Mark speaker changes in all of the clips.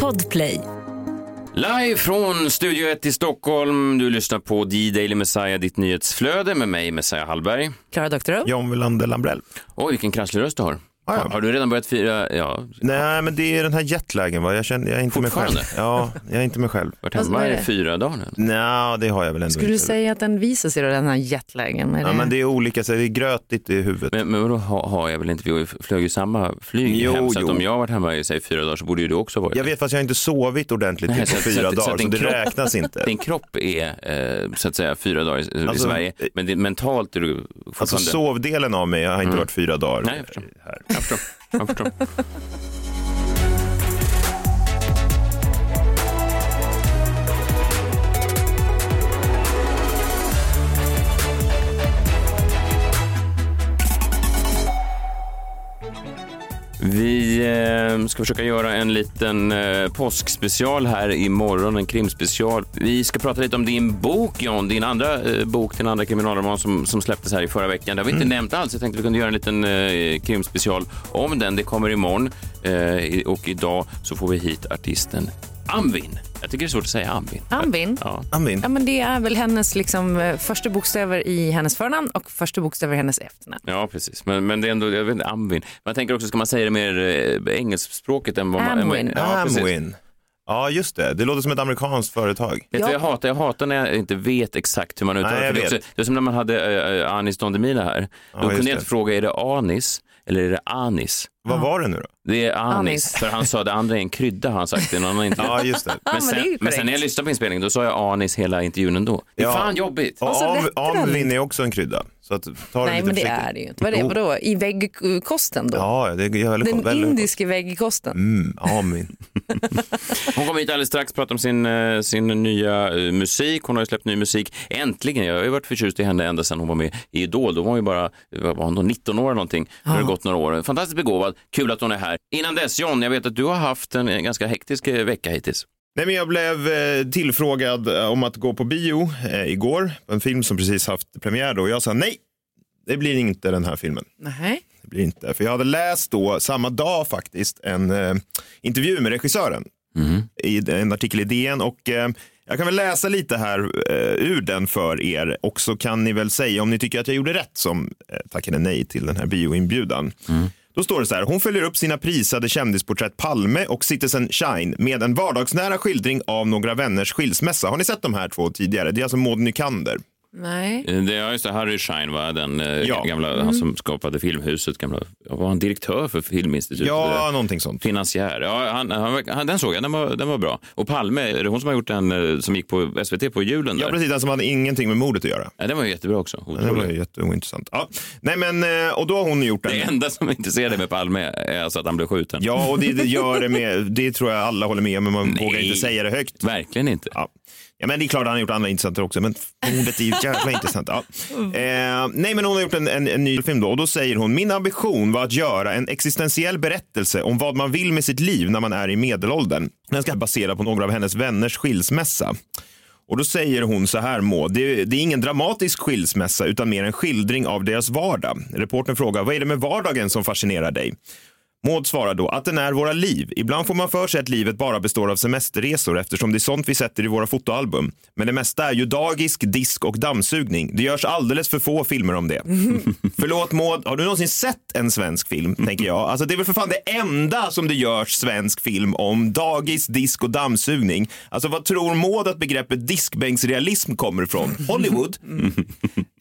Speaker 1: Podplay.
Speaker 2: Live från Studio 1 i Stockholm. Du lyssnar på D-Daily Messiah, ditt nyhetsflöde med mig, Messiah Hallberg.
Speaker 1: Klara Doktorow.
Speaker 3: John Wilander Lambrell.
Speaker 2: Oj, vilken krasslig röst du har.
Speaker 3: ja.
Speaker 2: Har- Har du redan börjat fira? Ja,
Speaker 3: Nej, men det är den här jetlagen va? Jag, känner, jag är inte mig själv.
Speaker 2: Fortfarande?
Speaker 3: Ja, jag är inte mig själv.
Speaker 2: varit
Speaker 1: Alltså, vad
Speaker 2: hemma
Speaker 1: är
Speaker 2: i
Speaker 1: det?
Speaker 2: fyra dagar nu.
Speaker 3: Nej, det har jag väl ändå
Speaker 1: Skulle du
Speaker 3: inte.
Speaker 1: säga att den visar sig då, den här jetlagen? Är
Speaker 3: Ja, men det är olika, så det är grötigt i huvudet.
Speaker 2: Men, men vadå ha- har jag väl inte? Vi har ju- flög ju samma flyg
Speaker 3: Jo,
Speaker 2: hem, så att
Speaker 3: jo.
Speaker 2: om jag har varit hemma i säg, fyra dagar så borde ju du också ha varit
Speaker 3: Jag
Speaker 2: det.
Speaker 3: vet fast jag har inte sovit ordentligt
Speaker 2: Nej,
Speaker 3: typ på
Speaker 2: så att- så
Speaker 3: fyra
Speaker 2: att- så
Speaker 3: dagar,
Speaker 2: att
Speaker 3: så
Speaker 2: din
Speaker 3: det
Speaker 2: kropp-
Speaker 3: räknas inte.
Speaker 2: Din kropp är eh, så att säga fyra dagar i,
Speaker 3: Alltså,
Speaker 2: i Sverige, men det, mentalt är du fortfarande... Mm.
Speaker 3: Alltså sovdelen av mig har inte varit fyra dagar.
Speaker 2: Nej, jag förstår. Jag förstår. Jag förstår. Vi eh, ska försöka göra en liten eh, påskspecial här imorgon, en krimspecial. Vi ska prata lite om din bok, John, din andra eh, bok, din andra kriminalroman som, som släpptes här i förra veckan. Det har vi inte nämnt alls. Jag tänkte vi kunde göra en liten eh, krimspecial om den. Det kommer imorgon eh, i- och idag så får vi hit artisten Amvin. Jag tycker det är svårt att säga Amvin.
Speaker 1: Anvin?
Speaker 2: Ja.
Speaker 3: Amin.
Speaker 1: Ja, men det är väl hennes liksom, eh, första bokstäver i hennes förnamn och första bokstäver i hennes efternamn.
Speaker 2: Ja, precis. Men, men det är ändå, jag vet inte, Amvin. Man tänker också, ska man säga det mer eh, engelskspråket än vad man...
Speaker 1: Amwin.
Speaker 2: Ja, precis.
Speaker 3: Amwin. Ja, just det. Det låter som ett amerikanskt företag.
Speaker 2: Vet du vad
Speaker 1: Ja.
Speaker 2: jag hatar? Jag hatar när jag inte vet exakt hur man uttalar
Speaker 3: Nej, jag
Speaker 2: det. är
Speaker 3: vet.
Speaker 2: också- Det är som när man hade eh, eh, Anis Don Demina här. Då
Speaker 3: just
Speaker 2: kunde jag
Speaker 3: det.
Speaker 2: inte fråga, är det Anis eller är det Anis?
Speaker 3: Vad var det nu då?
Speaker 2: Det är Anis,
Speaker 1: Anis.
Speaker 2: för han sa det andra är en krydda har han sagt i en annan intervju.
Speaker 3: Ja, just det.
Speaker 1: Ja, men det är ju
Speaker 2: sen, men sen
Speaker 1: korrekt.
Speaker 2: när jag lyssnade på inspelningen då sa jag Anis hela intervjun ändå. Det är
Speaker 3: Ja.
Speaker 2: fan jobbigt.
Speaker 3: Och
Speaker 1: så
Speaker 3: am,
Speaker 1: räcker den
Speaker 3: amvin är också en krydda. Så att, ta
Speaker 1: Nej,
Speaker 3: lite
Speaker 1: men det
Speaker 3: försiktigt.
Speaker 1: är det ju inte. Vad är det?
Speaker 3: Jo.
Speaker 1: Vadå? I väggkosten då?
Speaker 3: Ja, det är väldigt gott.
Speaker 1: Den
Speaker 3: Väldigt gott.
Speaker 1: indiska väggkosten?
Speaker 3: Mm, amin.
Speaker 2: Hon kommer hit alldeles strax prata om sin, eh, sin nya eh, musik. Hon har ju släppt ny musik. Äntligen! Jag har ju varit förtjust i henne ända sedan hon var med i Idol. Då var hon ju bara vad var hon då, 19 år eller någonting. Nu har det gått några år. Fantastiskt begåvad. Kul att hon är här. Innan dess, John, jag vet att du har haft en eh, ganska hektisk eh, vecka hittills.
Speaker 3: Nej, men jag blev eh, tillfrågad eh, om att gå på bio eh, igår. En film som precis haft premiär då. Och jag sa nej, det blir inte den här filmen.
Speaker 1: Nej.
Speaker 3: Det blir inte. För jag hade läst då, samma dag faktiskt, en eh, intervju med regissören. I en artikel i DN. Och, eh, jag kan väl läsa lite här eh, ur den för er. Och så kan ni väl säga om ni tycker att jag gjorde rätt som eh, tackade nej till den här bioinbjudan. Då står det så här, hon följer upp sina prisade kändisporträtt Palme och Citizen Shine med en vardagsnära skildring av några vänners skilsmässa. Har ni sett de här två tidigare? Det är alltså Maud Nykander.
Speaker 1: Nej.
Speaker 2: Eh, Det, ja, just det. Harry Schein, va? Den, eh,
Speaker 3: Ja. Mm-hmm.
Speaker 2: gamla, han som skapade Filmhuset. Gamla, var han direktör för Filminstitutet?
Speaker 3: Ja,
Speaker 2: Eller
Speaker 3: någonting sånt.
Speaker 2: Finansiär. Ja, han, han, han, den såg jag, den var, den var bra. Och Palme, är det hon som har gjort den eh, som gick på SVT på julen?
Speaker 3: Ja,
Speaker 2: där?
Speaker 3: precis. Den som hade ingenting med mordet att göra.
Speaker 2: Ja, den var ju jättebra också. Otrolig.
Speaker 3: Det var ju jätteointressant. Ja. Nej, men, eh, och då har hon gjort den.
Speaker 2: Det enda som intresserar dig med Palme är alltså att han blev skjuten.
Speaker 3: Ja, och det, det gör det med, det tror jag alla håller med om, men man vågar inte säga det högt.
Speaker 2: Verkligen inte.
Speaker 3: Ja. ja, men det är klart han har gjort andra intressanta också, men ordet är ju jävla intressant. Ja. Eh, nej, men hon har gjort en, en, en ny film då och då säger hon, min ambition var att göra en existentiell berättelse om vad man vill med sitt liv när man är i medelåldern. Den ska basera på några av hennes vänners skilsmässa. Och då säger hon så här Maud, det, det är ingen dramatisk skilsmässa utan mer en skildring av deras vardag. Reportern frågar, vad är det med vardagen som fascinerar dig? Maud svarar då att den är våra liv. Ibland får man för sig att livet bara består av semesterresor eftersom det är sånt vi sätter i våra fotoalbum. Men det mesta är ju dagisk, disk och dammsugning. Det görs alldeles för få filmer om det. Förlåt Maud, har du någonsin sett en svensk film? Tänker jag. Alltså det är väl för fan det enda som det görs svensk film om. Dagis, disk och dammsugning. Alltså vad tror Maud att begreppet diskbänksrealism kommer ifrån? Hollywood?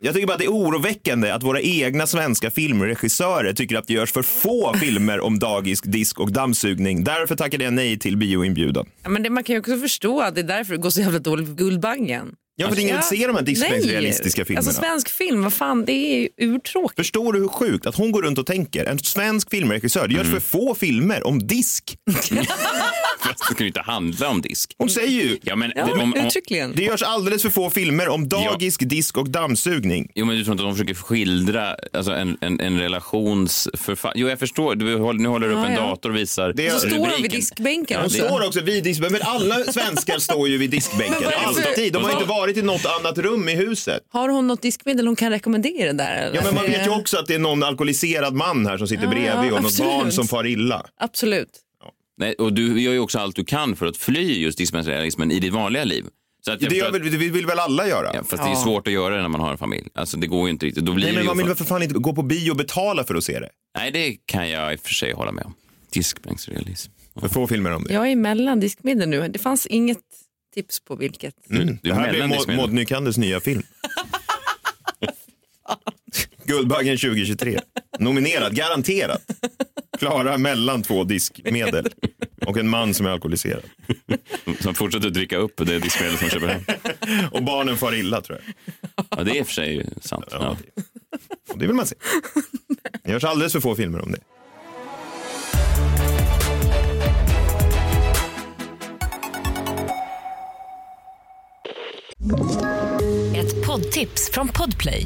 Speaker 3: Jag tycker bara att det är oroväckande att våra egna svenska filmregissörer tycker att det görs för få filmer om dagisk, disk och dammsugning. Därför tackade jag nej till bioinbjudan.
Speaker 1: Ja, men det, man kan ju också förstå att det är därför det går så jävla dåligt för Guldbaggen.
Speaker 3: Ja, för det är ingen vill se Alltså, de här diskbänksrealistiska
Speaker 1: Nej.
Speaker 3: filmerna.
Speaker 1: Alltså svensk film, vad fan, det är ju urtråkigt.
Speaker 3: Förstår du hur sjukt att hon går runt och tänker, en svensk filmregissör, det görs för få filmer om disk.
Speaker 2: Fast det kan ju inte handla om disk.
Speaker 3: Hon säger ju,
Speaker 2: Ja, men,
Speaker 1: Ja,
Speaker 2: det, om, om,
Speaker 1: uttryckligen.
Speaker 3: det görs alldeles för få filmer om dagisk, disk och dammsugning.
Speaker 2: jo, men du tror inte att de försöker skildra alltså, en, en, en relationsförfall? Jo, jag förstår. Du, håller- nu håller du upp
Speaker 1: Ja,
Speaker 2: en
Speaker 1: ja.
Speaker 2: dator och visar
Speaker 3: Det- Så
Speaker 1: står de vid diskbänken
Speaker 3: Hon
Speaker 1: Det-
Speaker 3: står också vid diskbänken, men alla svenskar står ju vid diskbänken.
Speaker 1: Men vad är det för-
Speaker 3: Alltid. De har ju inte varit i något annat rum i huset.
Speaker 1: Har hon något diskmedel hon kan rekommendera där? Eller?
Speaker 3: Ja, men man
Speaker 1: Alltså,
Speaker 3: vet ju också att det är någon alkoholiserad man här som sitter bredvid och något
Speaker 1: absolut.
Speaker 3: barn som far illa.
Speaker 1: Absolut.
Speaker 2: Nej, och du gör ju också allt du kan för att fly just dispensarismen i ditt vanliga liv. Så att jag
Speaker 3: Det,
Speaker 2: förstår
Speaker 3: gör,
Speaker 2: att-
Speaker 3: väl- det vill väl alla göra?
Speaker 2: Ja, fast det är
Speaker 1: Ja.
Speaker 2: svårt att göra det när man har en familj. Alltså det går ju inte riktigt. Då blir
Speaker 3: Nej, men
Speaker 2: det
Speaker 3: man
Speaker 2: ju
Speaker 3: vill väl för fan inte gå på bio och betala för att se det?
Speaker 2: Nej, det kan jag i och för sig hålla med om. Diskbänksrealism.
Speaker 3: För få filmer om det.
Speaker 1: Jag är mellan diskmedel nu. Det fanns inget tips på vilket.
Speaker 2: Mm.
Speaker 3: Det här blir Maud- Maud Nykanders nya film. Guldbaggen 2023. Nominerad, garanterat. Klara mellan två diskmedel och en man som är alkoholiserad.
Speaker 2: Som fortsätter att dricka upp det diskmedel som köper hem.
Speaker 3: Och barnen far illa tror jag.
Speaker 2: Ja, det är i och för sig sant. Ja.
Speaker 3: Och det vill man se. Det görs alldeles för få filmer om det.
Speaker 4: Ett poddtips från Podplay.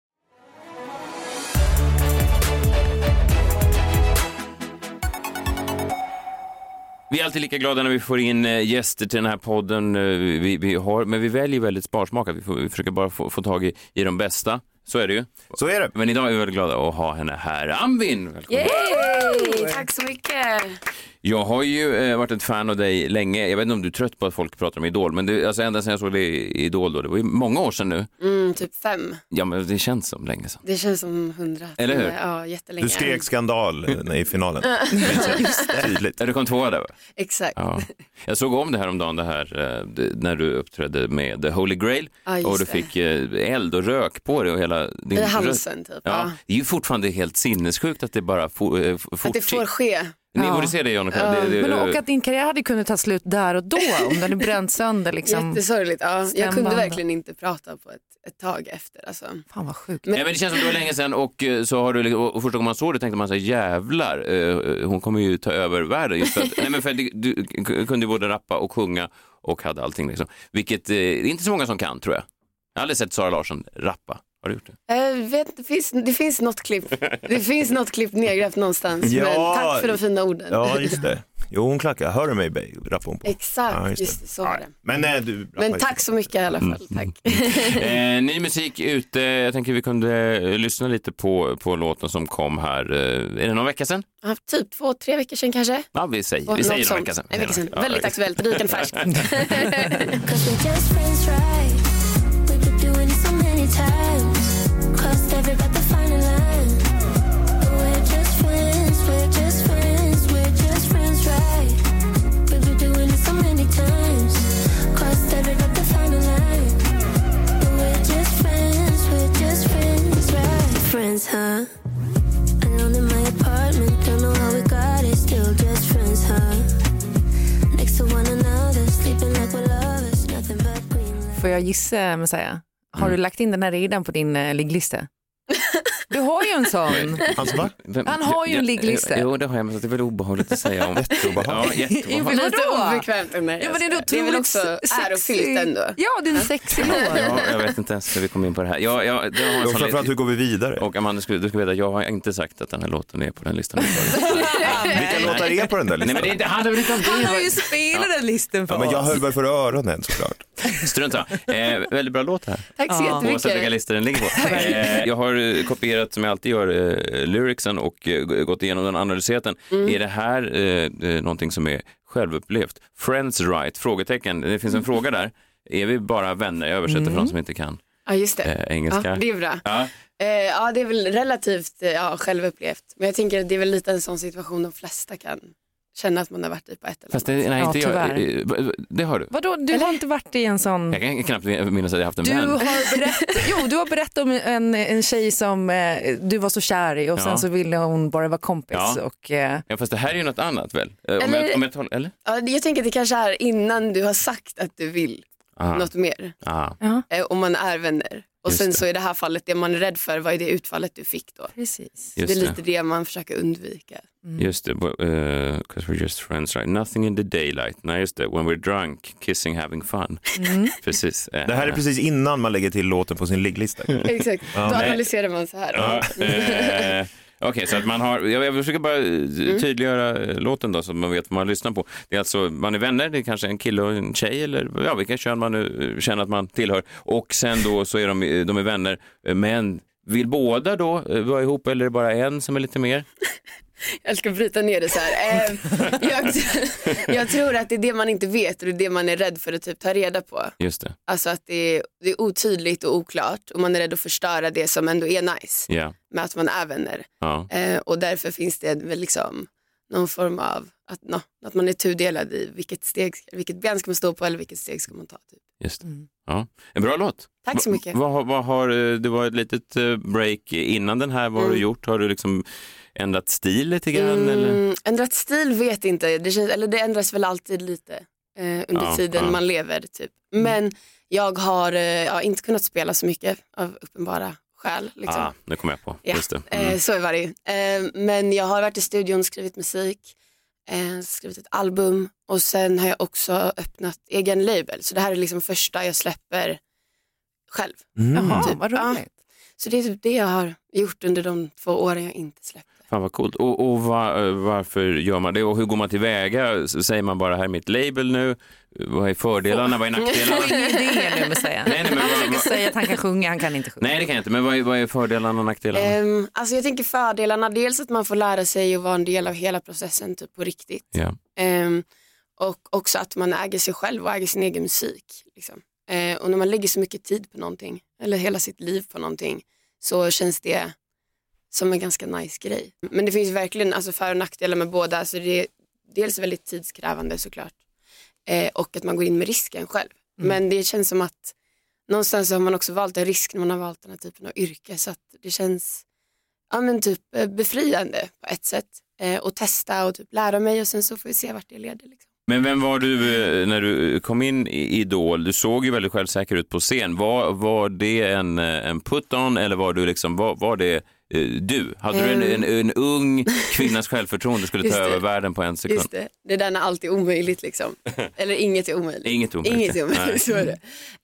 Speaker 2: Vi är alltid lika glada när vi får in eh, gäster till den här podden. eh, Vi, vi har, men vi väljer väldigt sparsmakat. Vi, får, vi försöker bara få, få tag i, i de bästa. Så är det ju.
Speaker 3: Så är det.
Speaker 2: Men idag är vi väldigt glada att ha henne här. Anvin, välkommen.
Speaker 5: Yay! Tack så mycket.
Speaker 2: Jag har ju eh, varit ett fan av dig länge. Jag vet inte om du är trött på att folk pratar om Idol, men det, alltså ända sedan jag såg dig i Idol då, det var ju många år sedan nu.
Speaker 5: Mm, typ fem.
Speaker 2: Ja, men det känns som länge sedan.
Speaker 5: Det känns som hundra.
Speaker 2: Eller hur?
Speaker 5: Ja, jättelänge.
Speaker 3: Du skrek skandal eh, i finalen. Tydligt.
Speaker 2: Ja, Du kom tvåa där va?
Speaker 5: Exakt.
Speaker 2: Ja. Jag såg om det här om dagen, det här eh, det- när du uppträdde med The Holy Grail
Speaker 5: Ja, just
Speaker 2: och du
Speaker 5: det.
Speaker 2: fick eh, eld och rök på dig och hela din
Speaker 5: I halsen typ.
Speaker 2: Ja,
Speaker 5: Ja.
Speaker 2: Det är ju fortfarande helt sinnessjukt att det bara for, eh, f-
Speaker 5: Att det får
Speaker 2: fortsätter.
Speaker 5: ske.
Speaker 2: Ni
Speaker 1: Ja.
Speaker 2: borde se det John och Karin. det, det,
Speaker 1: Men och att din karriär hade kunnat ta slut där och då om den är bränt sönder. Liksom.
Speaker 5: Jättesorgligt. Ja. Jag kunde
Speaker 1: stämbanden.
Speaker 5: verkligen inte prata på ett, ett tag efter. Alltså.
Speaker 1: Fan vad sjukt.
Speaker 2: Nej, men det känns som det var länge sedan och eh, så har du, liksom- och första gången man såg det tänkte man så här jävlar, eh, hon kommer ju ta över världen. Just för att, nej, men för att du, du k- kunde ju både rappa och sjunga och hade allting liksom. Vilket eh, det är inte så många som kan tror jag. Jag har aldrig sett Sara Larsson rappa. Har du gjort det?
Speaker 5: Jag Eh, vet, det, finns, det finns något klipp. Det finns något klipp nedgrävt någonstans.
Speaker 3: Ja.
Speaker 5: Men tack för de fina orden.
Speaker 3: Ja, just det. Jo, hon klackar. Hör du mig, babe? rappade hon på.
Speaker 5: Exakt,
Speaker 3: Ja, just
Speaker 5: just,
Speaker 3: det.
Speaker 5: det, så var det.
Speaker 3: Men, nej, du
Speaker 5: Men
Speaker 3: rappar ju.
Speaker 5: tack så mycket i alla
Speaker 2: Mm,
Speaker 5: fall. Tack.
Speaker 2: Eh, ny musik ute. Jag tänker vi kunde eh, lyssna lite på, på låten som kom här. Eh, är det någon vecka sedan?
Speaker 5: Ja, typ två, tre veckor sedan kanske.
Speaker 2: Ja, vi säger,
Speaker 5: Något
Speaker 2: vi säger någon
Speaker 5: sånt.
Speaker 2: vecka sedan.
Speaker 5: En vecka sedan.
Speaker 2: Ja,
Speaker 5: Väldigt
Speaker 2: ja.
Speaker 5: aktuellt, rykande färskt.
Speaker 6: Cause we're just friends, right? We could do it so many times. Crossed every but the final line. But we're just friends, we're just friends, we're just friends, right? We could do it so many times. Crossed every but the final line. But we're just friends, we're just friends, right? Friends, huh? Alone in my apartment, don't know how we got it. Still just friends, huh? Next to one another, sleeping like we're lovers, nothing but green lights.
Speaker 1: Får jag gissa Messiah? Har
Speaker 3: Mm.
Speaker 1: du lagt in den här redan på din eh, ligglista? Du har ju en sån.
Speaker 3: Hans, va?
Speaker 2: Vem-
Speaker 1: Han har ju en
Speaker 2: Ja, eh,
Speaker 1: ligglista.
Speaker 2: Jo, det har jag, men det är väl obehagligt att säga om.
Speaker 3: Jätteobehagligt.
Speaker 2: Ja, jätteobehagligt.
Speaker 1: Vadå?
Speaker 5: Lite obekvämt ändå.
Speaker 1: Ja, men det är otroligt
Speaker 5: väl också
Speaker 1: sexy.
Speaker 5: ärofyllt ändå.
Speaker 1: Ja, det är en sexig låt.
Speaker 2: Ja, jag vet inte ens hur vi kom in på det här. Jag, jag, det har en
Speaker 3: Och
Speaker 2: sån
Speaker 3: framförallt, hur
Speaker 2: liten-
Speaker 3: går vi vidare?
Speaker 2: och Amanda, du ska, du ska veta, jag har inte sagt att den här låten är på den listan.
Speaker 3: Vilka låtar är på den där
Speaker 2: Nej,
Speaker 3: listan?
Speaker 2: men det är inte, handlar väl inte om det.
Speaker 1: Han har ju spelat den listen för
Speaker 3: Ja, men jag
Speaker 1: oss.
Speaker 3: höll väl för öronen såklart.
Speaker 2: Strunt samma. eh, Väldigt bra låt det här.
Speaker 5: Tack så
Speaker 2: Oavsett vilka
Speaker 5: jättemycket.
Speaker 2: listor den ligger på. Eh, jag har eh, kopierat, som jag alltid gör, eh, lyricsen och eh, gått igenom den, analyserat den.
Speaker 1: Mm.
Speaker 2: Är det här eh, eh, någonting som är självupplevt? Friends right? Frågetecken. Det
Speaker 1: Mm.
Speaker 2: finns en fråga där. Är vi bara vänner? Jag översätter för de som inte kan
Speaker 5: Ja just det.
Speaker 2: eh,
Speaker 5: Ja,
Speaker 2: engelska.
Speaker 5: det är bra.
Speaker 2: Ja.
Speaker 5: Eh, ja det är väl relativt eh, ja, självupplevt. Men jag tänker att det är väl lite en sån situation de flesta kan känna att man har varit i på ett eller
Speaker 2: Fast
Speaker 5: annat.
Speaker 2: det, nej,
Speaker 1: Ja,
Speaker 2: inte jag.
Speaker 1: tyvärr.
Speaker 2: Eh, va- va- Det har du.
Speaker 1: Vadå, du har inte varit i en sån...
Speaker 2: Jag kan knappt minnas att jag haft en
Speaker 1: Du
Speaker 2: vän.
Speaker 1: har, berätt... jo, du har berättat om en, en tjej som eh, du var så kär i och
Speaker 2: Ja.
Speaker 1: sen så ville hon bara vara kompis.
Speaker 2: Ja.
Speaker 1: Och, eh,
Speaker 2: Ja, fast det här är ju något annat väl? Eh, Om
Speaker 5: Eller-
Speaker 2: jag, om jag tol- eller?
Speaker 5: Ja, det- jag tänker att det kanske är innan du har sagt att du vill
Speaker 2: Aha.
Speaker 5: något mer.
Speaker 2: Aha.
Speaker 5: Eh, och man är vänner. Och
Speaker 2: Just
Speaker 5: sen
Speaker 2: det.
Speaker 5: så i det här fallet, det man är rädd för, vad är det utfallet du fick då?
Speaker 1: Precis.
Speaker 2: Just
Speaker 5: det är
Speaker 2: det.
Speaker 5: lite det man försöker undvika.
Speaker 2: Just det, because we're just friends right? Nothing in the daylight. Nej, just det, when we're drunk, kissing, having fun. Precis. Eh,
Speaker 3: Det här är precis innan man lägger till låten på sin ligglista.
Speaker 2: Mm.
Speaker 5: Exakt, då
Speaker 2: nej.
Speaker 5: analyserar man så här.
Speaker 2: Ja, eh, Okej, så att man har, jag jag försöker bara eh, tydliggöra eh, låten då så att man vet vad man lyssnar på. Det är alltså, man är vänner, det är kanske en kille och en tjej eller ja, vilken kön man nu eh, känner att man tillhör. Och sen då så är de, eh, de är vänner, eh, men vill båda då eh, vara ihop eller är det bara en som är lite mer?
Speaker 5: Jag ska bryta ner det så här. Eh, jag, jag tror att det är det man inte vet och det är det man är rädd för att typ ta reda på.
Speaker 2: Just det,
Speaker 5: Alltså att det är, det är otydligt och oklart och man är rädd att förstöra det som ändå är nice
Speaker 2: ja.
Speaker 5: med att man är vänner.
Speaker 2: ja.
Speaker 5: Eh, och därför finns det väl liksom någon form av att, nå, att man är tudelad i vilket, steg, vilket ben ska man stå på eller vilket steg ska man ta. Typ.
Speaker 2: Just det. Ja. En bra låt.
Speaker 5: Tack så
Speaker 2: Va-
Speaker 5: mycket.
Speaker 2: Vad, har- vad har, eh, det var ett litet eh, break innan den här, vad har du gjort? Har du liksom ändrat stil lite grann? Eller?
Speaker 5: Mm, ändrat stil vet inte, det känns, eller det ändras väl alltid lite eh, under
Speaker 2: Ja,
Speaker 5: tiden
Speaker 2: ja. Mm.
Speaker 5: man lever. typ. Men jag har eh, ja, inte kunnat spela så mycket av uppenbara skäl. Liksom.
Speaker 2: Ah, nu kom jag på.
Speaker 5: Ja,
Speaker 2: Just det. Mm.
Speaker 5: eh, så var det ju. Eh, men jag har varit i studion, skrivit musik, eh, skrivit ett album och sen har jag också öppnat egen label. Så det här är liksom första jag släpper själv.
Speaker 1: Jaha,
Speaker 5: Typ,
Speaker 1: vad
Speaker 5: ja.
Speaker 1: roligt.
Speaker 5: Så det är typ det jag har gjort under de två åren jag inte släppte.
Speaker 2: Fan vad coolt. Och, och va, eh, varför gör man det och hur går man tillväga? S- Säger man bara här är mitt label nu, vad är fördelarna, vad är nackdelarna?
Speaker 1: Det är ju det nu med säga.
Speaker 2: Nej, nej, men
Speaker 1: han
Speaker 2: vad-
Speaker 1: försöker
Speaker 2: vad-
Speaker 1: säga att han kan sjunga, han kan inte sjunga.
Speaker 2: Nej det kan jag inte, men vad är, vad är fördelarna och nackdelarna?
Speaker 5: Ehm, alltså jag tänker fördelarna, dels att man får lära sig att vara en del av hela processen typ på riktigt.
Speaker 2: ja.
Speaker 5: Ehm, och också att man äger sig själv och äger sin egen musik. Liksom. Eh, och när man lägger så mycket tid på någonting, eller hela sitt liv på någonting, så känns det som en ganska nice grej. Men det finns verkligen alltså, för och nackdelar med båda. Alltså, det är dels väldigt tidskrävande såklart, eh, och att man går in med risken själv.
Speaker 2: Mm.
Speaker 5: Men det känns som att någonstans så har man också valt en risk när man har valt den här typen av yrke, så att det känns ja, men typ eh, befriande på ett sätt eh, och testa och typ lära mig och sen så får vi se vart det leder. Liksom.
Speaker 2: Men vem var du eh, när du kom in i Idol? Du såg ju väldigt självsäker ut på scen. Var, var det en, eh, en put-on eller var, du liksom, var, var det eh, du? Hade du en, en, en ung kvinnas självförtroende skulle ta
Speaker 5: Ehm. Just det.
Speaker 2: över världen på en sekund?
Speaker 5: Just det, det där när allt är omöjligt liksom. Eller inget är omöjligt.
Speaker 2: Inget omöjligt.
Speaker 5: Inget är
Speaker 2: Nej.
Speaker 5: omöjligt, så är det.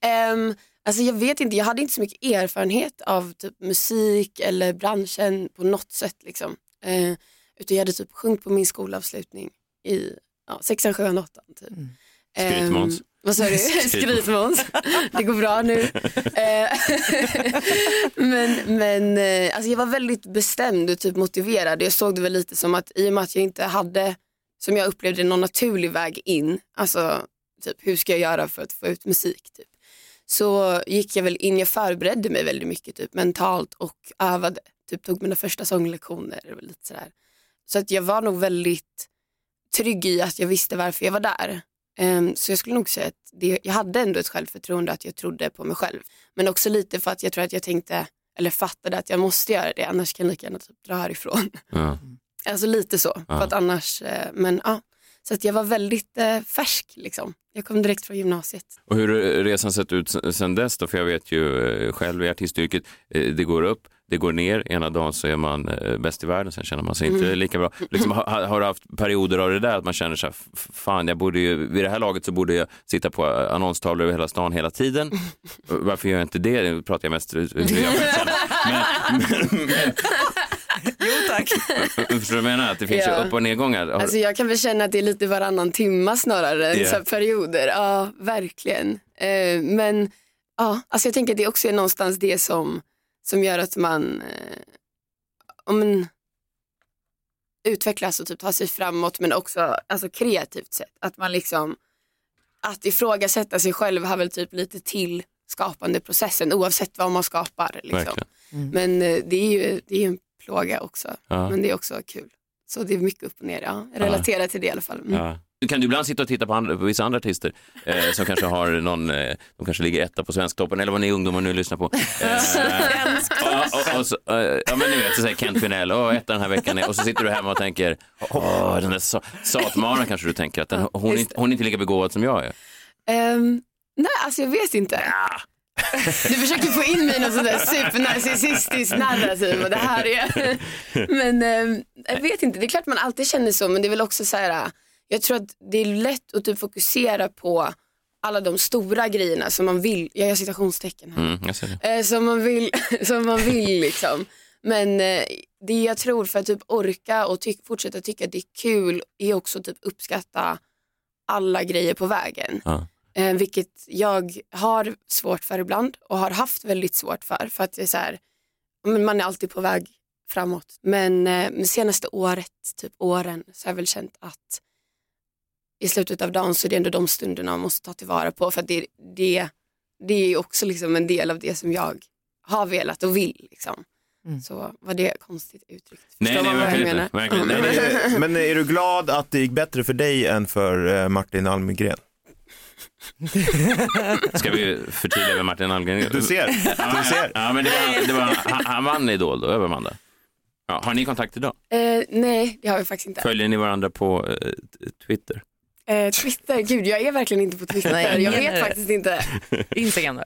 Speaker 5: Ehm, alltså jag vet inte, jag hade inte så mycket erfarenhet av typ musik eller branschen på något sätt liksom. Eh, utan jag hade typ sjungit på min skolavslutning i ja, sexan, sjuan, åttan typ. Ehm,
Speaker 2: Skrytmåns.
Speaker 5: vad sa du? Skrytmåns. Det går bra nu. Eh, men men eh, alltså jag var väldigt bestämd och typ motiverad. Jag såg det väl lite som att i och med att jag inte hade, som jag upplevde någon naturlig väg in, alltså typ hur ska jag göra för att få ut musik typ. Så gick jag väl in, jag förberedde mig väldigt mycket typ mentalt och övade, typ tog mina första sånglektioner och lite sådär. Så att jag var nog väldigt trygg i att jag visste varför jag var där. Ehm, så jag skulle nog säga att det, jag hade ändå ett självförtroende att jag trodde på mig själv. Men också lite för att jag tror att jag tänkte, eller fattade att jag måste göra det, annars kan jag lika gärna typ dra härifrån.
Speaker 2: Ja.
Speaker 5: Alltså lite så,
Speaker 2: Ja.
Speaker 5: för att annars, eh, men ja. Så att jag var väldigt eh, färsk liksom. Jag kom direkt från gymnasiet.
Speaker 2: Och hur har resan sett ut sen- sen dess då? För jag vet ju eh, själv i artistyrket, eh, det går upp, det går ner, ena dagen så är man eh, bäst i världen, sen känner man sig inte lika bra. Liksom, har, har du haft perioder av det där att man känner så här, "F- fan, jag borde ju, vid det här laget så borde jag sitta på eh, annonstavlor över hela stan hela tiden. Varför gör jag inte det? Nu pratar jag mest hur jag själv känner. Men, men, men, jo tack. Förstår du vad jag menar? Att det finns
Speaker 5: Ja.
Speaker 2: ju upp och nedgångar. Har,
Speaker 5: Alltså jag kan väl känna att det är lite varannan timma snarare än
Speaker 2: Ja.
Speaker 5: så här perioder. Ja, verkligen. Eh, men ja, alltså jag tänker att det också är någonstans det som, som gör att man, eh, om man utvecklas och typ tar sig framåt men också alltså kreativt sett. Att man liksom, att ifrågasätta sig själv har väl typ lite till skapandeprocessen oavsett vad man skapar. Liksom.
Speaker 2: Verkligen.
Speaker 5: Men eh, det är ju det är ju en plåga också.
Speaker 2: Ja.
Speaker 5: Men det är också kul. Så det är mycket upp och ner. Ja. Jag relaterar till det i alla fall. Mm.
Speaker 2: Ja. Kan du ibland sitta och titta på, andra, på vissa andra artister eh, som kanske har någon, eh, de kanske ligger etta på Svensktoppen eller vad ni ungdomar nu lyssnar på. Eh, ja, och, och så, eh, ja men ni vet, så säger Kent Vinell, åh etta den här veckan är, och så sitter du hemma och tänker, åh den där sa- satmaran kanske du tänker att den, hon, är
Speaker 5: just
Speaker 2: inte, hon är inte lika begåvad som jag är.
Speaker 5: Ehm, nej, alltså jag vet inte. Du försöker få in mig i något sånt där supernarcissistiskt narrativ och det här är... Men eh, jag vet inte, det är klart man alltid känner så men det är väl också så här, jag tror att det är lätt att typ fokusera på alla de stora grejerna som man vill, jag gör citationstecken här,
Speaker 2: Mm, jag ser det.
Speaker 5: eh, som man vill, som man vill liksom. Men eh, det jag tror för att typ orka och ty- fortsätta tycka att det är kul är också typ uppskatta alla grejer på vägen.
Speaker 2: Ja.
Speaker 5: Eh, vilket jag har svårt för ibland och har haft väldigt svårt för. För att det är så här, ja, men man är alltid på väg framåt. Men eh, men senaste året, typ åren, så har jag väl känt att i slutet av dagen så är det ändå de stunderna man måste ta tillvara på. För att det, det, det är ju också liksom en del av det som jag har velat och vill. Liksom. Så var det konstigt uttryckt?
Speaker 2: Nej,
Speaker 5: Förstår
Speaker 2: nej,
Speaker 5: man vad jag
Speaker 2: verkligen
Speaker 5: menar?
Speaker 2: inte. Verkligen.
Speaker 5: Mm.
Speaker 2: Nej, nej.
Speaker 7: Men är du glad att det gick bättre för dig än för eh, Martin Almgren?
Speaker 2: Ska vi förtydliga vem Martin Almgren
Speaker 7: Du ser, du ser.
Speaker 2: Ja, men det var, det var, han, han vann Idol då, över Amanda. Ja, har ni kontakt idag?
Speaker 5: Eh, nej, det har vi faktiskt inte.
Speaker 2: Följer ni varandra på eh, Twitter?
Speaker 5: Eh, Twitter, gud jag är verkligen inte på Twitter.
Speaker 1: Nej,
Speaker 5: jag
Speaker 1: ingen är
Speaker 5: vet
Speaker 1: det.
Speaker 5: faktiskt inte.
Speaker 1: Instagram då?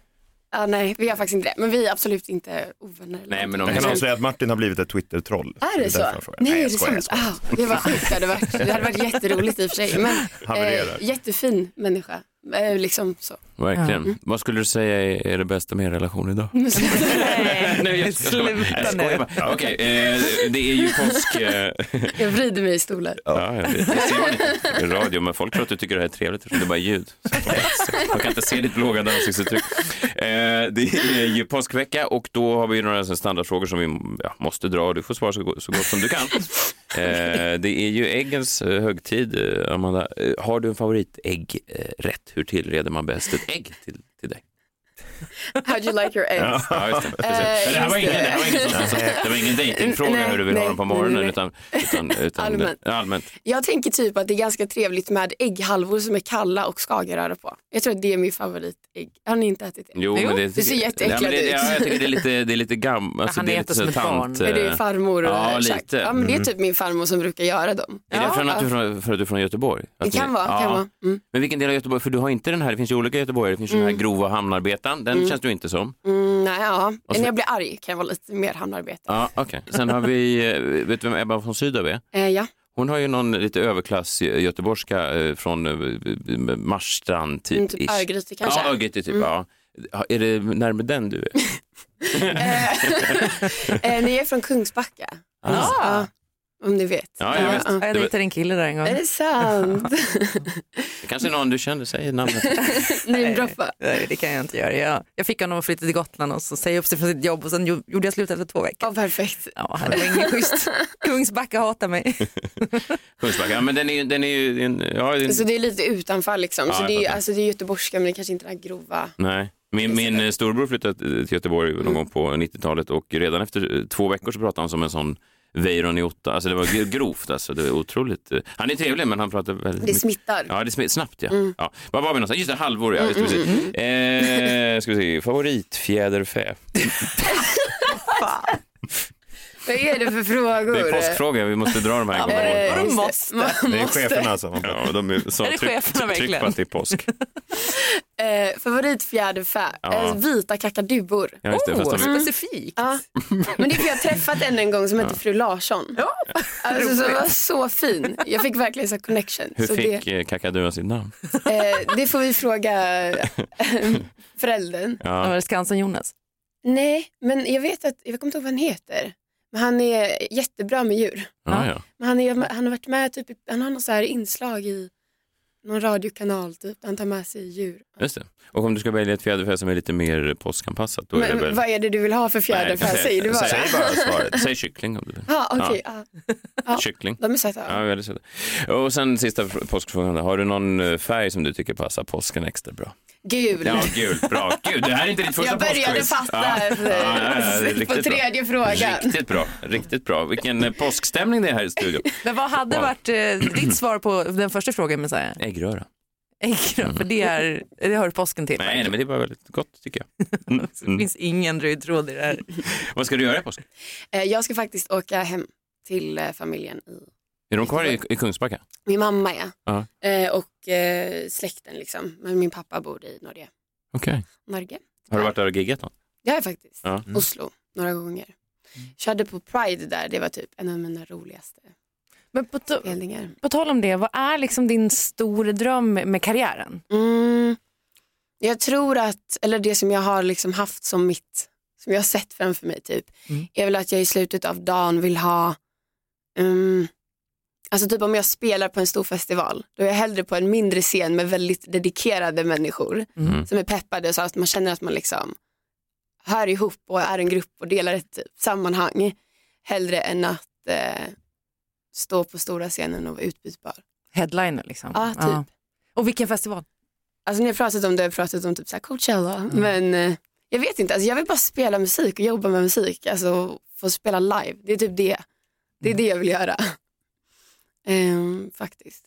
Speaker 5: Ja, nej, vi är faktiskt inte det. Men vi är absolut inte ovänner. eller
Speaker 2: Nej, men
Speaker 5: någonting.
Speaker 2: om-
Speaker 7: Jag kan avslöja att Martin har blivit ett Twitter-troll.
Speaker 5: Är det så?
Speaker 7: därför jag frågar.
Speaker 5: Nej,
Speaker 7: jag
Speaker 5: är det
Speaker 7: skojar, jag
Speaker 5: sant?
Speaker 7: skojar.
Speaker 5: Ah, det var sjukt, det hade varit, det hade varit jätteroligt i och för sig. Men, eh,
Speaker 7: Havererar.
Speaker 5: jättefin människa. Eh, liksom så.
Speaker 2: Verkligen. Vad skulle du säga är, är det bästa med er relation idag? Nej, jag skojar bara. Jag skojar bara. Ja, Okej, eh, det är ju påsk. Eh,
Speaker 5: Jag vrider mig i stolar.
Speaker 2: ja, jag vet. Jag ser det i radio, men folk tror att du tycker det här är trevligt eftersom det är bara ljud. Så De kan inte se ditt blågade ansiktsuttryck. Eh, det är ju påskvecka och då har vi ju några sådana standardfrågor som vi ja, måste dra och du får svara så go- så gott som du kan. Eh, det är ju äggens eh, högtid, eh, Amanda. Eh, Har du en favoritäggrätt? Hur tillreder man bäst ett ägg till, till dig?
Speaker 5: How'd you like your eggs?
Speaker 2: Ja, just det. Precis.
Speaker 5: Eh,
Speaker 2: Men det här var
Speaker 5: just
Speaker 2: ingen, det här var ingen, sån-
Speaker 7: Nej.
Speaker 2: det var ingen dejtingfråga
Speaker 5: Nej,
Speaker 2: hur du vill ha
Speaker 5: nej,
Speaker 2: dem på
Speaker 5: nej,
Speaker 2: morgonen
Speaker 5: nej.
Speaker 2: utan, utan, utan
Speaker 5: Allmänt.
Speaker 2: ja, allmänt.
Speaker 5: Jag tänker typ att det är ganska trevligt med ägghalvor som är kalla och skagenröra på. Jag tror att det är min favoritägg. Har ni inte ätit det?
Speaker 2: Jo, men det,
Speaker 5: det ser jätteäckligt
Speaker 2: Ja, men det-
Speaker 5: ut.
Speaker 2: Ja, jag tycker det är lite, det är lite gammalt. Alltså,
Speaker 1: Han
Speaker 2: det är
Speaker 1: äter
Speaker 2: lite
Speaker 1: som
Speaker 2: så
Speaker 1: ett barn.
Speaker 2: tant.
Speaker 1: Är
Speaker 5: Är det
Speaker 2: eh,
Speaker 5: farmor och
Speaker 2: Ja,
Speaker 5: exakt.
Speaker 2: lite. Mm.
Speaker 5: Ja, men det är typ min farmor som brukar göra dem.
Speaker 2: Är det
Speaker 5: ja,
Speaker 2: från att du, är från, för att du är från Göteborg? Att
Speaker 5: Det kan
Speaker 2: ni-
Speaker 5: vara.
Speaker 2: Ja.
Speaker 5: Kan vara. Mm.
Speaker 2: Men vilken del av Göteborg? För du har inte den här, det finns ju olika Göteborgare. Det finns ju den här grova hamnarbetaren, den känns du inte som.
Speaker 5: Mm, nej, ja.
Speaker 2: Och så-
Speaker 5: När jag blir arg kan jag vara lite mer hamnarbete.
Speaker 2: Ja, okej. Sen har vi, eh, vet du vem Ebba von Sydow är?
Speaker 5: Eh, ja.
Speaker 2: Hon har ju någon lite överklass göteborgska eh, från eh, Marstrand
Speaker 5: Mm,
Speaker 2: typ.
Speaker 5: typ
Speaker 2: ish.
Speaker 5: Örgryte kanske. Mm.
Speaker 2: Ja, Örgryte typ. Ja. Ja, Är det närmare den du är?
Speaker 5: Eh, nej, jag är från Kungsbacka. Ja, om ni vet.
Speaker 2: Ah. Ja, jag vet.
Speaker 1: Jag dejtade en kille där en gång.
Speaker 5: Är det sant?
Speaker 2: Det kanske är någon du känner, säg namnet.
Speaker 5: Namedroppa.
Speaker 1: Nej, det kan jag inte göra. Jag, jag fick honom att flytta till Gotland och så säga upp sig från sitt jobb och sen gjo- gjorde jag slut efter två veckor.
Speaker 5: Ja, perfekt.
Speaker 1: Ja, det var inget schysst. Kungsbacka hatar mig.
Speaker 2: Kungsbacka, ja, men den är ju, den är ju, en- ja, en-
Speaker 5: Så Alltså, det är lite utanför liksom.
Speaker 2: Ja,
Speaker 5: så
Speaker 2: jag
Speaker 5: det är,
Speaker 2: fattar.
Speaker 5: alltså, det är göteborgska men det är kanske inte den här grova.
Speaker 2: Nej. Min,
Speaker 5: Alltså,
Speaker 2: min eh, storbror flyttade till Göteborg någon gång på 90-talet och redan efter eh, två veckor så pratade han som en sån Weiron i Otta. Alltså det var g- grovt alltså, det var otroligt. eh, Han är trevlig men han pratar väldigt
Speaker 5: Det
Speaker 2: mycket.
Speaker 5: smittar. Mm.
Speaker 2: Ja, det är smitt- snabbt ja. ja. Vad var vi någonstans? Just det, halvor ja. Just det, precis.
Speaker 5: mm.
Speaker 2: Eh, ska vi se, favoritfjäderfä.
Speaker 5: Vad är det för frågor?
Speaker 2: Det är påskfråga, vi måste dra de här.
Speaker 5: Eh,
Speaker 2: gångerna.
Speaker 1: Vadå
Speaker 5: just det.
Speaker 1: måste?
Speaker 5: Man
Speaker 7: Det är
Speaker 5: måste.
Speaker 7: cheferna alltså.
Speaker 2: Ja, de är, så
Speaker 1: Är det cheferna
Speaker 2: tryck på
Speaker 1: verkligen?
Speaker 2: att det är påsk.
Speaker 5: Eh, Favoritfjäderfä,
Speaker 2: Ja.
Speaker 5: eh, vita kakadubor.
Speaker 2: Ja, just det, fast de är
Speaker 1: Specifikt.
Speaker 5: Ja. Men det är för jag har träffat en en gång som heter fru Larsson. Ja. Alltså, som var så fin. Jag fick verkligen så här connection.
Speaker 2: Hur
Speaker 5: så
Speaker 2: fick eh, kakaduan sitt namn?
Speaker 5: det, eh, det får vi fråga eh, föräldern.
Speaker 1: Ja. Var
Speaker 2: Ja.
Speaker 1: det Skansen-Jonas?
Speaker 5: Nej, men jag vet att, jag kommer inte ihåg vad han heter. Men han är jättebra med djur.
Speaker 2: Ja, ja.
Speaker 5: Men han, är, han har varit med, typ, i- han har något så här inslag i någon radiokanal typ, där han tar med sig djur.
Speaker 2: Just det. Och om du ska välja ett fjäderfä som är lite mer påskanpassat, då är det
Speaker 5: Men
Speaker 2: väl...
Speaker 5: vad är det du vill ha för
Speaker 2: Nej,
Speaker 5: fjäderfä?
Speaker 2: jag kan säga-
Speaker 5: Säger du bara.
Speaker 2: säg
Speaker 7: Säg bara svaret.
Speaker 2: Säg kyckling om du vill.
Speaker 5: Ja, okej. Ah. ja. Ja.
Speaker 2: Kyckling.
Speaker 5: De är söta.
Speaker 2: Ja, väldigt söta. Och sen sista fr- påskfrågan. då. Har du någon eh, färg som du tycker passar påsken extra bra?
Speaker 5: Gul.
Speaker 2: Ja, gul. Bra. Gud, det här är inte ditt första
Speaker 5: Jag började
Speaker 2: påskquiz.
Speaker 5: fatta efter-
Speaker 2: det är
Speaker 5: på
Speaker 2: riktigt bra.
Speaker 5: tredje frågan.
Speaker 2: Riktigt bra. Riktigt bra. Vilken eh, påskstämning det är här i studion.
Speaker 1: Men vad hade
Speaker 2: Wow.
Speaker 1: varit eh, ditt svar på den första frågan med så här,
Speaker 2: Äggröra.
Speaker 1: äggröra? För det, är, det hör påsken till.
Speaker 2: Mm. Nej, nej, men det var väldigt gott tycker jag. mm.
Speaker 1: Det finns ingen röd tråd i det här.
Speaker 2: Vad ska du göra i påsk?
Speaker 5: Eh, Jag ska faktiskt åka hem till eh, familjen. I.
Speaker 2: Är de kvar i, i Kungsbacka?
Speaker 5: Min mamma är
Speaker 2: Ja.
Speaker 5: eh, och eh, släkten liksom. Men min pappa bor i Norge.
Speaker 2: Okej.
Speaker 5: Norge.
Speaker 2: Har du varit där och giggat någon?
Speaker 5: Jag är faktiskt
Speaker 2: Ja. Mm.
Speaker 5: Oslo några gånger. Körde på Pride där, det var typ en av mina roligaste
Speaker 1: Men på, to-
Speaker 5: spelningar.
Speaker 1: på tal om det, vad är liksom din stora dröm med med karriären?
Speaker 5: Mm. Jag tror att, eller det som jag har liksom haft som mitt, som jag har sett framför mig typ,
Speaker 1: Mm.
Speaker 5: är väl att jag i slutet av dagen vill ha, mm, alltså typ om jag spelar på en stor festival, då är jag hellre på en mindre scen med väldigt dedikerade människor
Speaker 1: Mm.
Speaker 5: som är peppade så att man känner att man liksom hör ihop och är en grupp och delar ett typ, sammanhang, hellre än att eh, stå på stora scenen och vara utbytbar.
Speaker 1: Headliner liksom.
Speaker 5: Ja, typ.
Speaker 1: Och vilken festival?
Speaker 5: Alltså ni har pratat om det, jag har pratat om typ så här Coachella.
Speaker 1: Mm.
Speaker 5: Men eh, jag vet inte, alltså, jag vill bara spela musik och jobba med musik. Alltså få spela live, det är typ det. Det
Speaker 1: Mm.
Speaker 5: är det jag vill göra. Ehm, faktiskt.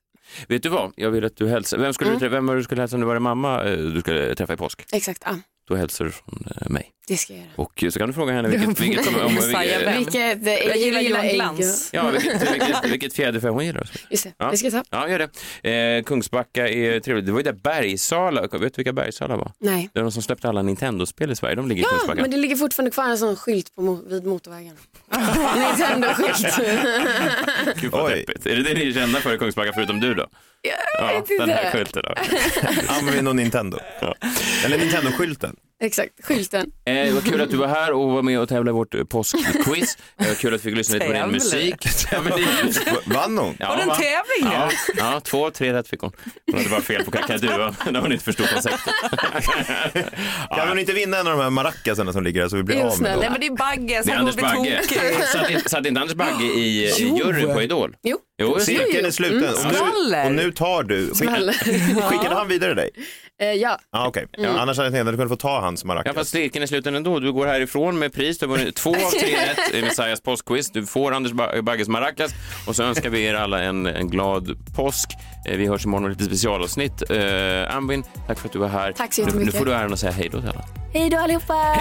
Speaker 2: Vet du vad? Jag vill att du hälsar. Vem, skulle
Speaker 5: Mm.
Speaker 2: du, trä- vem var det du skulle hälsa om du var din mamma eh, du skulle träffa i påsk?
Speaker 5: Exakt, ja.
Speaker 2: Då hälsar du från eh, mig.
Speaker 5: Det ska jag göra.
Speaker 2: Och eh, så kan du fråga henne vilket... vilket, om, om,
Speaker 1: Messiah
Speaker 2: vilket
Speaker 1: Vem?
Speaker 5: Vilket, eh, jag gillar, ägg. och-
Speaker 2: ja, vilket, vilket, vilket fjäderfä hon gillar.
Speaker 5: Just det,
Speaker 2: Ja.
Speaker 5: det ska jag ta.
Speaker 2: Ja, gör det. Eh, Kungsbacka är trevligt. Det var ju där Bergsala, vet du vilka Bergsala var?
Speaker 5: Nej.
Speaker 2: Det var de som släppte alla Nintendo-spel i Sverige, de ligger i
Speaker 5: Ja,
Speaker 2: Kungsbacka.
Speaker 5: men det ligger fortfarande kvar en sån skylt på, mo- vid motorvägen. Nintendo-skylt.
Speaker 2: Gud vad
Speaker 7: Oj.
Speaker 2: deppigt. Är det det ni är kända för i Kungsbacka, förutom du då? Ja,
Speaker 5: vet
Speaker 2: den här
Speaker 5: inte.
Speaker 2: skylten. då.
Speaker 7: Använder någon Nintendo? Eller Nintendo-skylten?
Speaker 5: Exakt, skylten.
Speaker 2: Eh, det var kul att du var här och var med och tävlade i vårt eh, påskquiz. Det var kul att vi fick lyssna lite på din
Speaker 1: Tävlar.
Speaker 2: musik. Ja, men det-
Speaker 7: Vann hon?
Speaker 2: Ja,
Speaker 1: Har du en
Speaker 2: va?
Speaker 1: tävling
Speaker 2: Ja, ja, två, tre rätt fick hon. Hon hade bara fel på kakaduan. Då har hon inte förstått konceptet.
Speaker 7: Kan hon inte vinna en av de här maracasarna som ligger där så vi blir
Speaker 5: Jo,
Speaker 7: av med
Speaker 5: snälla.
Speaker 7: dem?
Speaker 1: Nej men det är Bagge,
Speaker 2: Det är
Speaker 1: han
Speaker 2: Anders
Speaker 1: kommer bli
Speaker 2: Bagge.
Speaker 1: tokig.
Speaker 2: Satt inte- Satt inte Anders Bagge i, i
Speaker 8: Jo.
Speaker 2: juryn på Idol?
Speaker 5: Jo.
Speaker 2: Jo, just det.
Speaker 7: Cirkeln är sluten. Och nu,
Speaker 1: Skvaller.
Speaker 7: och nu tar du. Skick,
Speaker 5: Smäller.
Speaker 7: skickade han vidare dig?
Speaker 5: Eh, ja,
Speaker 7: Ah, okay. Annars hade jag tänkt att du kunde få ta hans
Speaker 2: Ja, fast
Speaker 7: maracas.
Speaker 2: cirkeln är sluten ändå. Du går härifrån med pris. Du har vunnit två av tre rätt i Messias påskquiz. Du får Anders ba- Bagges maracas. Och så önskar vi er alla en, en glad påsk. Eh, Vi hörs imorgon med lite specialavsnitt. Eh, Anvin, tack för att du var här.
Speaker 5: Tack så
Speaker 2: Nu-
Speaker 5: jättemycket.
Speaker 2: Nu får du äran att säga hej då till alla.
Speaker 6: Hej då allihopa!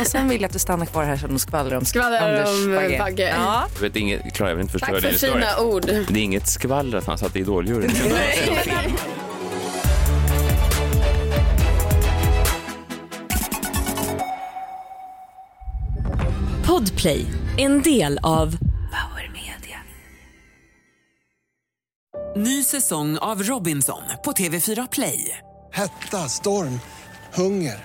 Speaker 1: Och sen vill jag att du stannar kvar här så de skvallrar om
Speaker 5: skvadrar
Speaker 1: Anders
Speaker 5: om eh,
Speaker 1: Bagge.
Speaker 5: Bagge.
Speaker 1: Ja.
Speaker 2: Jag vet inget, Klara, jag vill inte förstöra
Speaker 5: Tack för
Speaker 2: din historia.
Speaker 5: fina ord.
Speaker 2: Det är inget skvaller att han satt i Idoljuryn.
Speaker 4: Podplay, en del av Power Media.
Speaker 9: Ny säsong av Robinson på TV4 Play.
Speaker 10: Hetta, storm, hunger.